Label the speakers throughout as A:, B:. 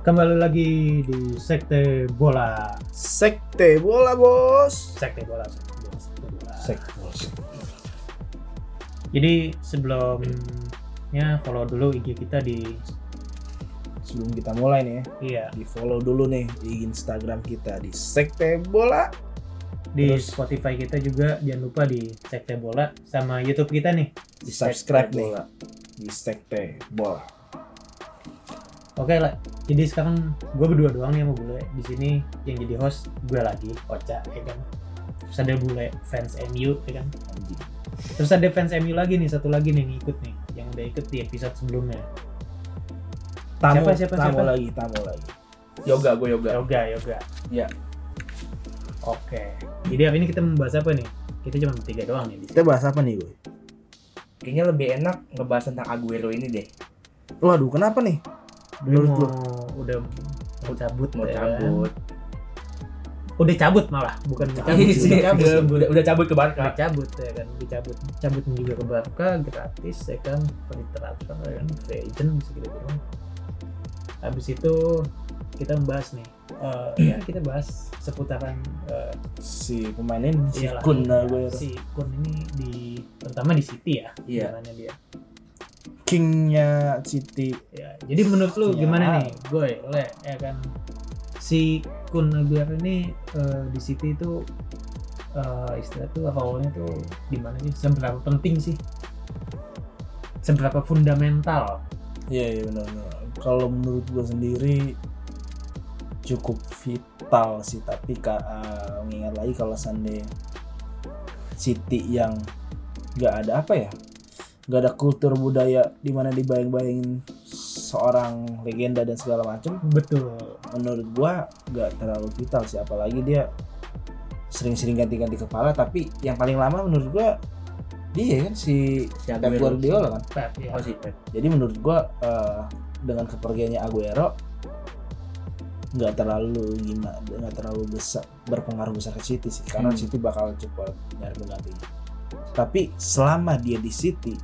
A: Kembali lagi di Sekte Bola.
B: Sekte bola bos.
A: Sekte Bola. Sekte Bola. Sekte Bola.
B: Sekte.
A: Jadi sebelumnya follow dulu IG kita di
B: Sebelum kita mulai nih, ya,
A: iya
B: di follow dulu nih di Instagram kita di Sekte Bola.
A: di
B: Terus-
A: Spotify kita juga jangan lupa di Sekte Bola sama YouTube kita nih.
B: Di subscribe
C: Sekte
B: nih
C: bola.
B: di Sekte Bola.
A: Oke lah. Jadi sekarang gue berdua doang nih sama bule di sini yang jadi host gue lagi Ocha ya kan. Terus ada bule fans MU ya kan.
B: Anjing.
A: Terus ada fans MU lagi nih satu lagi nih yang ikut nih yang udah ikut di episode sebelumnya.
B: Tamu,
A: Siapa, siapa,
B: tamu
A: siapa?
B: lagi, tamu lagi.
C: Yoga, gue yoga.
A: Yoga yoga.
C: Iya.
A: Oke. Jadi hari ini kita membahas apa nih? Kita cuma bertiga doang nih. di sini.
B: Kita bahas apa nih gue?
C: Kayaknya lebih enak ngebahas tentang Aguero ini deh.
B: Waduh, kenapa nih?
A: Lu
B: Menurut lu?
A: mau- udah mau cabut
C: Mau
A: ya kan?
C: cabut.
A: udah cabut malah bukan mau cabut
B: Iya sih,
A: udah cabut
C: udah, udah, udah cabut ke Barca.
A: udah cabut ya kan udah cabut cabutnya juga ke Barca gratis ya kan free transfer ya kan free agent bisa kita bilang habis itu kita membahas nih eh, ya kita bahas seputaran eh,
B: Si pemain ini si
A: iyalah,
B: Kun gue
A: si Kun ini di terutama di City ya
C: Iya.
A: jalannya dia
B: Kingnya City.
A: ya jadi menurut lu
B: Ya.
A: gimana nih gue le ya kan si Kun Aguero ini eh, di City itu eh, istilah tuh awalnya tuh gimana sih seberapa penting sih seberapa fundamental
B: Iya, iya benar. benar. Kalau menurut gue sendiri cukup vital sih, tapi ka- eh, mengingat lagi kalau seandainya City yang nggak ada apa ya, nggak ada kultur budaya di mana dibayang-bayangin seorang legenda dan segala macam,
A: betul
B: menurut gua nggak terlalu vital sih, apalagi dia sering-sering ganti-ganti kepala, tapi yang paling lama menurut gua dia kan si
C: Si
B: Pep Guardiola kan.
A: Pep ya
C: Oh sih, Pep.
B: Jadi menurut gua eh, dengan kepergiannya Aguero nggak terlalu gimana nggak terlalu besar berpengaruh besar ke City sih karena
C: Hmm.
B: City bakal cepat nyari pengganti. Tapi selama dia di City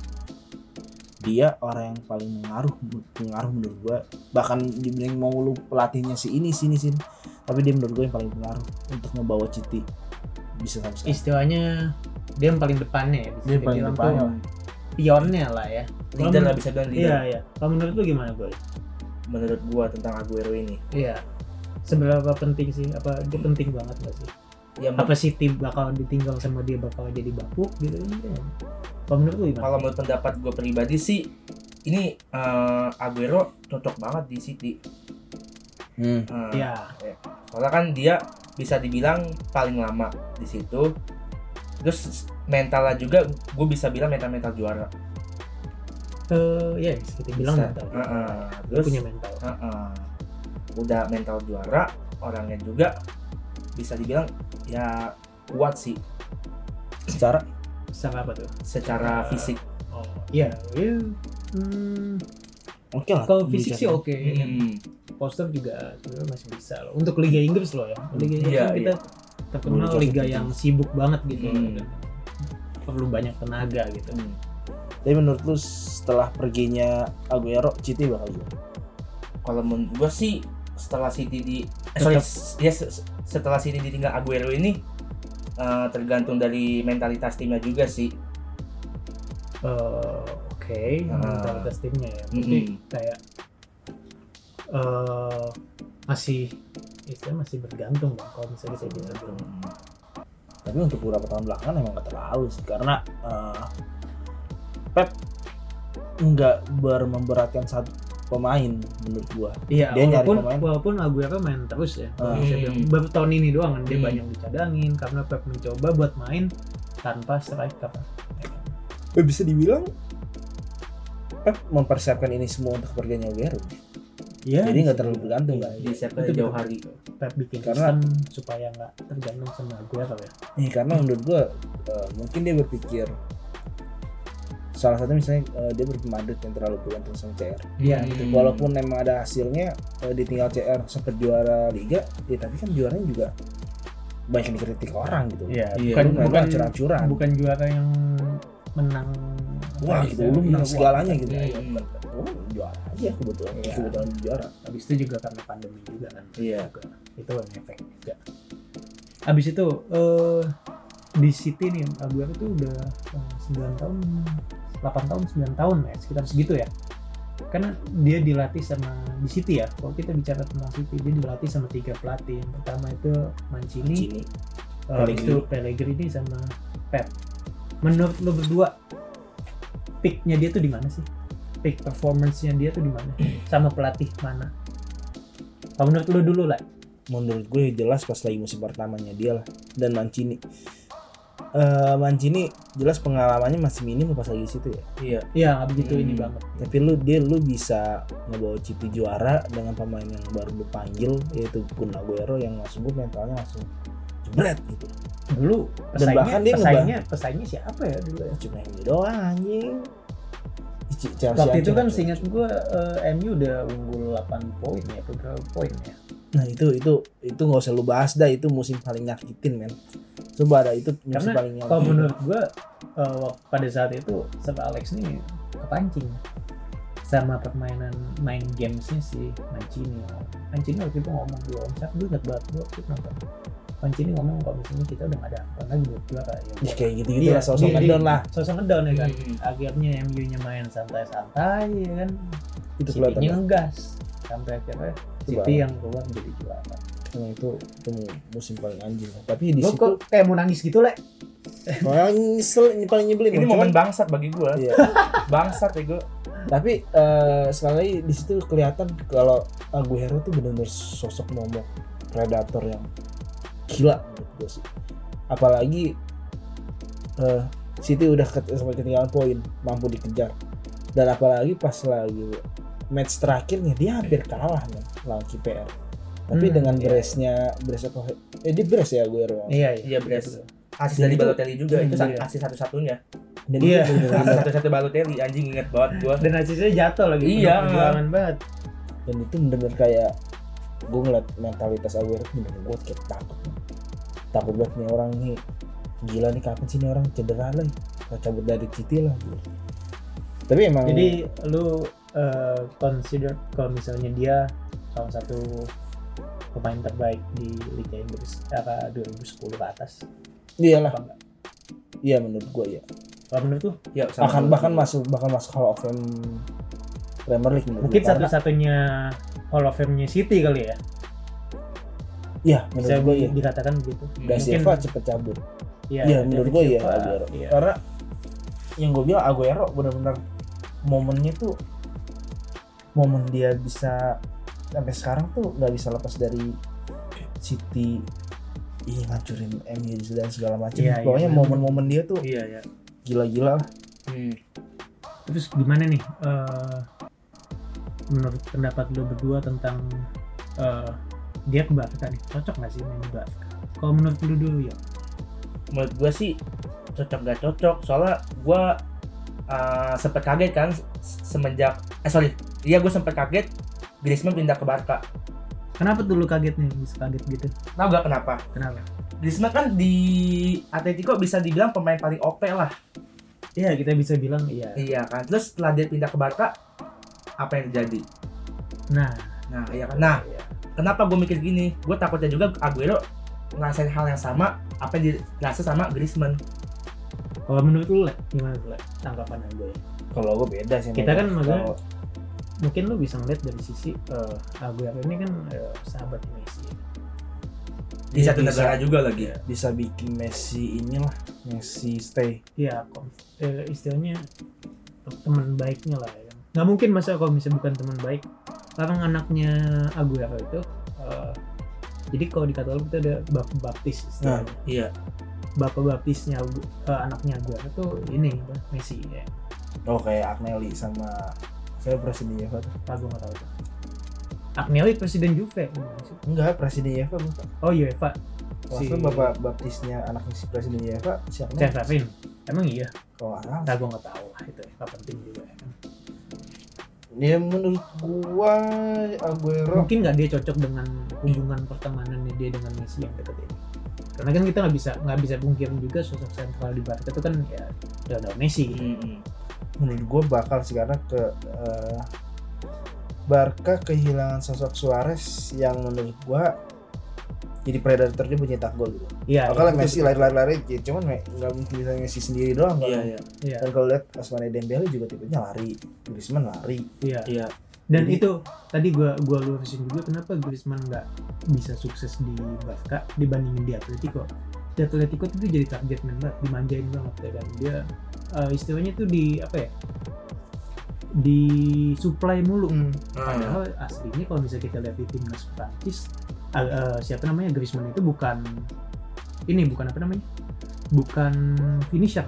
B: dia orang yang paling mengaruh pengaruh menurut gua bahkan dibanding mau lu pelatihnya si ini sini sini tapi dia menurut gua yang paling pengaruh untuk membawa City bisa sampai sekarang.
A: istilahnya dia yang paling depannya ya bisa
B: Dia yang paling
A: dibilang tuh
B: depannya.
A: pionnya lah ya Kalau
C: Leader lah
A: menurut-
C: bisa bilang leader.
A: iya iya kalau menurut lu gimana gue
C: Menurut gue tentang Aguero ini.
A: iya seberapa penting sih apa dia penting banget gak sih
C: Ya,
A: apa City bakal ditinggal sama dia bakal jadi bapuk gitu kan kalau menurut lu gimana?
C: kalau menurut pendapat gue pribadi sih, ini eh, Aguero cocok banget di City.
B: Hmm.
C: Eh,
A: ya
C: soalnya kan dia bisa dibilang paling lama di situ terus mentalnya juga gue bisa bilang mental mental juara
A: eh ya bisa kita bilang
C: Bisa.
A: mental
C: Heeh.
A: Dia
C: terus
A: punya mental
C: heeh. udah mental juara orangnya juga bisa dibilang ya kuat sih
B: Secara
A: sama apa tuh
C: secara
A: Secara-
C: fisik
A: oh iya iya. hmm,
B: oke lah.
A: kalau fisik sih
B: Bicara.
A: oke iya.
C: Hmm.
A: postur juga sebenarnya masih bisa loh untuk Liga Inggris loh ya Liga Inggris
C: Iya,
A: kan kita terkenal
B: Menurut
A: Liga
B: aku
A: yang sibuk banget gitu
C: Hmm.
A: perlu banyak tenaga gitu
C: Hmm.
B: Tapi menurut lu setelah perginya Aguero, City bakal gimana?
C: kalau menurut gue sih setelah City di eh, sorry s- ya se- setelah City ditinggal Aguero ini eh, tergantung dari mentalitas timnya juga sih
A: Eh, oke
C: Ah.
A: mentalitas timnya ya berarti
C: Mm-mm.
A: kayak eh masih istilah masih bergantung dong kalau misalnya saya bilang gitu.
B: Tapi untuk beberapa tahun belakangan emang gak terlalu sih karena eh, Pep nggak ber- memberatkan satu pemain menurut gua.
A: iya
B: Dia nyari
A: walaupun
B: pemain.
A: walaupun Aguero main terus ya kalau
B: Ah.
A: bisa bilang.
C: Hmm.
A: baru tahun ini doang kan dia
C: Hmm.
A: banyak dicadangin karena Pep mencoba buat main tanpa striker Ya kan?
B: Eh, bisa dibilang Pep mempersiapkan ini semua untuk perginya Aguero.
A: Iya,
B: Jadi
A: bisa
B: nggak terlalu
A: dibilang.
B: bergantung kan?
A: Iya,
C: Di siapa
A: itu
C: jauh
A: betul.
C: hari.
A: Pep bikin
B: Karena-
A: sistem supaya nggak tergantung sama Aguero ya
B: Nih karena menurut gua eh, mungkin dia berpikir salah satu misalnya eh, dia berpemadut yang terlalu bergantung sama CR.
A: Iya,
C: Hmm.
B: Walaupun memang ada hasilnya eh, ditinggal CR sempat juara liga, ya tapi kan juaranya juga banyak dikritik orang gitu
A: Iya,
C: Iya,
A: bukan
B: lu
A: bukan
B: bukan curang-curang
A: bukan juara yang menang
B: wah
A: Iya,
B: gitu lu menang
A: iya,
B: segalanya
A: wah.
B: gitu
A: Iya, iya.
C: Hmm.
B: oh juara aja kebetulan
A: Iya.
B: kebetulan juara
A: Habis itu juga karena pandemi juga kan.
C: Iya.
A: Juga. Itu yang efek juga. Habis itu eh di City nih Aguero tuh udah eh, 9 tahun 8 tahun 9 tahun ya sekitar segitu ya. Karena dia dilatih sama di City ya. Kalau kita bicara tentang City dia dilatih sama tiga pelatih. Yang pertama itu Mancini,
B: sini
A: eh, habis itu Pellegrini sama Pep. Menurut lo berdua peaknya dia tuh di mana sih? Peak performance-nya dia tuh di mana? Sama pelatih mana? Kalau menurut lo dulu lah.
B: menurut gue jelas pas lagi musim pertamanya dia lah dan Mancini Eh Mancini jelas pengalamannya masih minim pas lagi situ ya
C: Iya.
A: Iya, nggak begitu
C: Hmm.
A: ini banget.
B: tapi lu dia lu bisa ngebawa City juara dengan pemain yang baru lu panggil yaitu Kun Aguero yang langsung gue mentalnya langsung jebret gitu
A: Dulu pesaingnya,
B: bahkan dia
A: pesaingnya, pesaingnya siapa ya dulu ya?
B: cuma ini doang anjing Ih, Chelsea
A: Waktu itu
B: hancur,
A: kan
B: hancur.
A: seingat gue eh, MU udah unggul 8 poin ya, atau berapa poin ya?
B: nah itu itu itu nggak usah lu bahas dah itu musim paling nyakitin men coba ada itu musim
A: Karena
B: paling
A: Kalau
B: nyakitin
A: menurut gue pada saat itu Sir Alex nih kepancing sama permainan main gamesnya si Mancini. Mancini waktu itu ngomong dua omcat gue inget banget gue waktu itu nonton. Mancini ngomong kalau misalnya kita udah gak ada apa lagi buat juara ya.
B: Ya,
A: udah.
B: kayak gitu gitu
A: Iya,
B: lah sosok
A: dia-
B: down lah Iya.
A: Sosok ngedown ya kan.
C: Hmm.
A: Akhirnya MU-nya main santai-santai ya kan.
B: itu kan?
A: City
B: kelihatannya
A: ngegas sampai akhirnya City yang keluar jadi juara.
B: Nah, itu itu musim paling anjing lah. tapi di
A: Lo
B: situ
A: kok kayak mau nangis gitu lah.
B: paling nyesel ini paling nyebelin
C: Ini
B: Cuman-
C: momen bangsat bagi gua.
B: Iya.
C: Bangsat ya gua.
B: tapi eh, sekali lagi di situ kelihatan kalau Aguero tuh benar-benar sosok momok predator yang gila menurut gue sih apalagi eh, City udah ket- sampai ketinggalan poin mampu dikejar dan apalagi pas lagi match terakhirnya dia hampir kalah men lawan KPR tapi
A: Hmm,
B: dengan
A: iya.
B: brace-nya brace apa eh dia brace ya Aguero
A: Iya,
C: Iya, Bres. Asis
B: Jadi
C: dari
B: itu-
C: Balotelli juga itu sa-
A: Iya.
C: asis satu-satunya.
B: dan
A: Iya.
B: dia bener-bener-
C: Asis satu-satu Balotelli anjing inget banget gua.
A: Dan asisnya jatuh lagi.
C: Iya.
A: Penuh perjuangan banget.
B: dan itu bener-bener kayak gue ngeliat mentalitas Aguero tuh bener-bener gue kayak takut nih. takut banget nih orang nih gila nih kapan sih nih orang cedera lah Gak cabut dari City lah gitu. tapi emang
A: Jadi lu eh, consider kalau misalnya dia salah satu pemain terbaik di Liga Inggris eh, era 2010 ke atas
B: iya lah
A: apa enggak?
B: iya menurut gue ya
A: Kalau menurut lu
C: Ya, sama-
B: bahkan bahkan masuk bahkan masuk Hall of Fame Premier League menurut
A: mungkin
B: gua. Karena-
A: satu-satunya Hall of Fame-nya City kali ya.
B: iya menurut
A: Bisa
B: gue
A: di-
B: ya
A: dikatakan begitu.
B: Da
C: Hmm.
A: mungkin-
B: Silva cepet cabut iya
A: David
B: menurut gue ya
A: Silva,
B: Aguero
A: iya.
B: karena yang gue bilang Aguero benar-benar momennya tuh momen dia bisa sampai sekarang tuh nggak bisa lepas dari City ih ngancurin MU dan segala macam
A: Iya, iya,
B: pokoknya
A: bener.
B: momen-momen dia tuh
C: Iya, ya.
B: gila-gila lah.
C: Hmm.
A: Terus gimana nih eh, menurut pendapat lu berdua tentang eh, dia ke Barca nih? Cocok nggak sih main di Barca? Kalau menurut lu dulu ya.
C: menurut gue sih cocok gak cocok soalnya gue uh, sempet kaget kan se- semenjak eh sorry iya gue sempet kaget Griezmann pindah ke Barca
A: Kenapa tuh lu kaget nih? Bisa kaget gitu.
C: tau gak kenapa
A: Kenapa?
C: Griezmann kan di Atletico bisa dibilang pemain paling OP lah
A: Iya kita bisa bilang iya.
C: iya kan terus setelah dia pindah ke Barca apa yang terjadi
A: Nah,
C: nah iya kan nah
A: iya.
C: kenapa gue mikir gini gue takutnya juga Aguero ngerasain hal yang sama apa yang dirasa sama Griezmann
A: kalau menurut lu Le, gimana tuh Le? tanggapan gue? ya?
B: kalau gue beda sih
A: Kita
B: Mel.
A: kan maksudnya-
B: Kalau-
A: Mungkin lu bisa ngeliat dari sisi eh, Aguero ini kan eh, sahabat Messi.
C: di
B: Iya,
C: satu
B: bisa.
C: negara juga lagi ya?
B: bisa bikin Messi inilah Messi stay
A: Iya, konf- eh, istilahnya teman baiknya lah. Ya. Nggak mungkin masa kalau misalnya bukan teman baik, orang anaknya Aguero itu. eh, jadi kalau di Katolik itu ada bap baptis istilahnya.
B: Nah,
C: iya
A: Bapak baptisnya Agu- eh, anaknya Aguero tuh ini apa, Messi ya.
B: oh kayak Agnelli sama saya presiden UEFA tuh
A: Apa gue nggak tahu tuh. Agnelli presiden Juve. Gimana sih?
B: enggak presiden UEFA bukan
A: Oh UEFA.
B: Waktu bapak baptisnya anaknya si presiden UEFA siapa?
A: Cevin. Emang iya?
B: Kalau nggak salah.
A: Nah, gue nggak tahu lah itu. Gak penting juga. ya kan.
B: Ya menurut gua Aguero
A: Mungkin nggak dia cocok dengan hubungan pertemanannya dia dengan Messi yang deket ini. karena kan kita nggak bisa nggak bisa pungkirin juga sosok sentral di Barca itu kan ya Lionel Messi
B: Hmm.
A: gitu.
B: menurut gue bakal sih karena ke eh, Barca kehilangan sosok Suarez yang menurut gue jadi predatornya pencetak gol gitu.
A: Iya.
B: Kalau
A: itu-
B: Messi lari-lari-lari, ya cuman me- nggak mungkin bisa Messi sendiri doang. kan.
C: Iya, iya,
A: Iya.
B: Dan kalau lihat Asmane Dembele juga tipenya lari, Griezmann lari.
A: Iya.
C: iya.
A: Dan
B: Jadi-
A: itu tadi gua gua lurusin juga kenapa Griezmann nggak bisa sukses di Barca dibandingin di Atletico. Di Atletico itu jadi target man banget, dimanjain banget ya kan. Dia eh, istilahnya tuh di apa ya? Di supply mulu. Padahal aslinya kalau bisa kita lihat di timnas Prancis eh, eh, siapa namanya Griezmann itu bukan ini bukan apa namanya? Bukan finisher.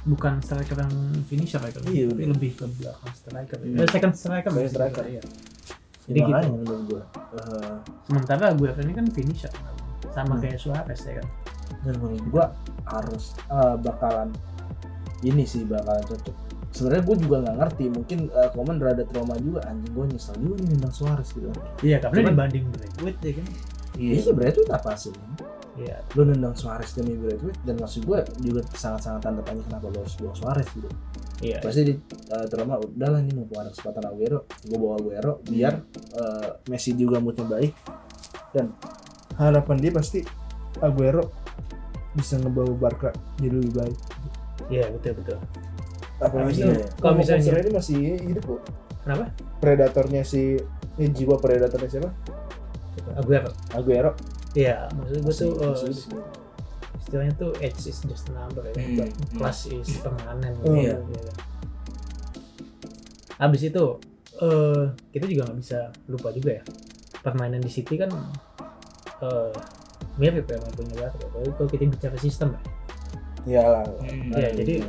A: Bukan striker yang finisher ya, kan?
B: Iya,
A: Tapi
B: bener.
A: lebih ke belakang striker. ya.
C: Hmm.
A: Eh, second striker
B: Second
A: ya,
B: striker.
A: iya.
B: Jadi
A: Jadi
B: makanya
A: gitu.
B: menurut gue. eh,
A: Sementara gue ini kan finisher sama
B: Hmm.
A: kayak Suarez ya kan.
B: dan menurut gua harus eh, bakalan ini sih bakalan cocok sebenarnya gue juga nggak ngerti mungkin eh, komen rada trauma juga anjing gue nyesel juga nih nendang Suarez gitu
A: Iya, karena
B: Cuman-
A: dibanding Braithwaite ya kan.
B: iya sih Braithwaite apa sih
A: Iya,
B: lu nendang Suarez demi Braithwaite dan maksud gue juga sangat-sangat tanda tanya kenapa lu harus buang Suarez gitu
A: iya.
B: pasti di eh, trauma udahlah nih mumpung ada kesempatan Aguero gue bawa Aguero biar eh, Messi juga moodnya baik dan harapan dia pasti Aguero bisa ngebawa Barca jadi lebih baik
A: Iya, betul betul.
B: apalagi
A: Iya. Kalau misalnya-
B: Konser ini masih hidup kok
A: Kenapa?
B: predatornya si ini jiwa predatornya siapa
A: Aguero.
B: Aguero
A: Iya, maksud gue tuh eh,
B: Masih- masih-
A: istilahnya tuh age is just a number ya.
C: Hmm.
A: Class is permanent
B: Hmm.
A: gitu. ya kan. Habis itu eh kita juga nggak bisa lupa juga ya. Permainan di City kan eh mirip ya sama punya Barca. Kalau kalau kita bicara sistem ya.
B: iyalah
A: Iya, jadi-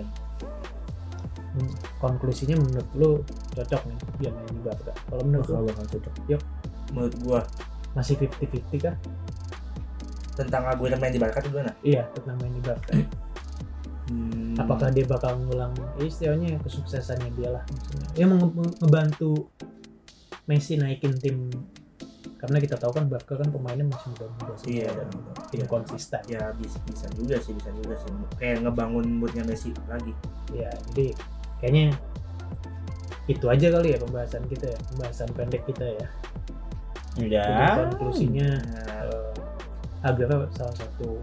A: Hmm, konklusinya menurut lu cocok nih dia main di Barca kalau menurut lu
B: bakal bakal cocok
C: menurut gua
A: masih 50-50 kah?
C: tentang Aguero main di Barca itu gimana?
A: iya tentang main di Barca
B: Hmm.
A: apakah dia bakal ngulang ya istilahnya kesuksesannya dia lah maksudnya ya menge- menge- ngebantu Messi naikin tim karena kita tahu kan Barca kan pemainnya masih muda-muda semua
C: Iya.
A: dan tim konsisten
C: ya bisa bisa juga sih bisa juga sih kayak ngebangun moodnya Messi lagi
A: ya jadi kayaknya itu aja kali ya pembahasan kita ya pembahasan pendek kita ya
B: Ya.
A: Jadi konklusinya
C: Nah,
A: eh, Aguero salah satu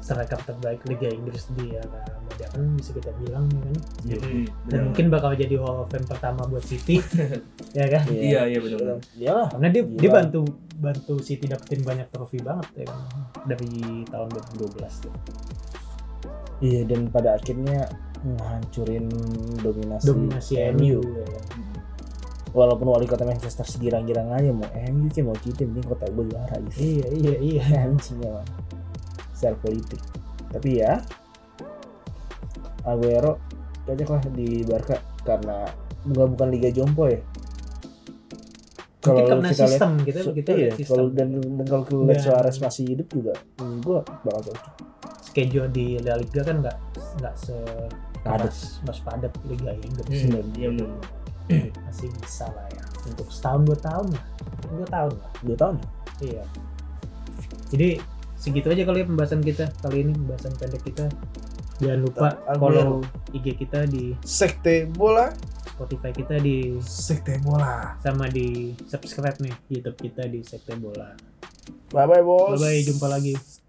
A: striker terbaik Liga Inggris di era modern bisa kita bilang ya kan
B: Iya.
C: hmm,
A: dan
C: benar.
A: mungkin bakal jadi Hall of Fame pertama buat City ya kan
C: iya iya benar benar.
B: iya lah
A: karena dia dia
B: Gila.
A: bantu bantu City dapetin banyak trofi banget ya kan dari tahun 2012 tuh
B: iya dan pada akhirnya menghancurin dominasi,
A: dominasi MU ya kan.
B: walaupun wali kota Manchester segirang-girang aja mau MU sih mau kita penting kota gue juara gitu
A: iya iya iya
B: anjing emang secara politik tapi ya Aguero cocok lah di Barca karena bukan bukan Liga Jompo ya
A: mungkin karena
B: kita lihat-
A: sistem gitu kita
B: so-
A: kita
B: iya,
A: lihat sistem Iya.
B: kalau dan, dan kalau kita lihat
A: Dan-
B: Suarez masih hidup juga menurut gua bakal cocok
A: schedule di La Liga kan nggak nggak se
B: Padat.
A: mas padat Liga Inggris
C: Hmm, iya benar
A: masih bisa lah ya untuk setahun dua tahun lah dua tahun lah
B: dua tahun
A: iya jadi segitu aja kali ya pembahasan kita kali ini pembahasan pendek kita jangan lupa
B: Aguero.
A: follow IG kita di
B: sekte bola
A: Spotify kita di
B: sekte bola
A: sama di subscribe nih YouTube kita di Sekte Bola
B: bye bye bos
A: bye bye jumpa lagi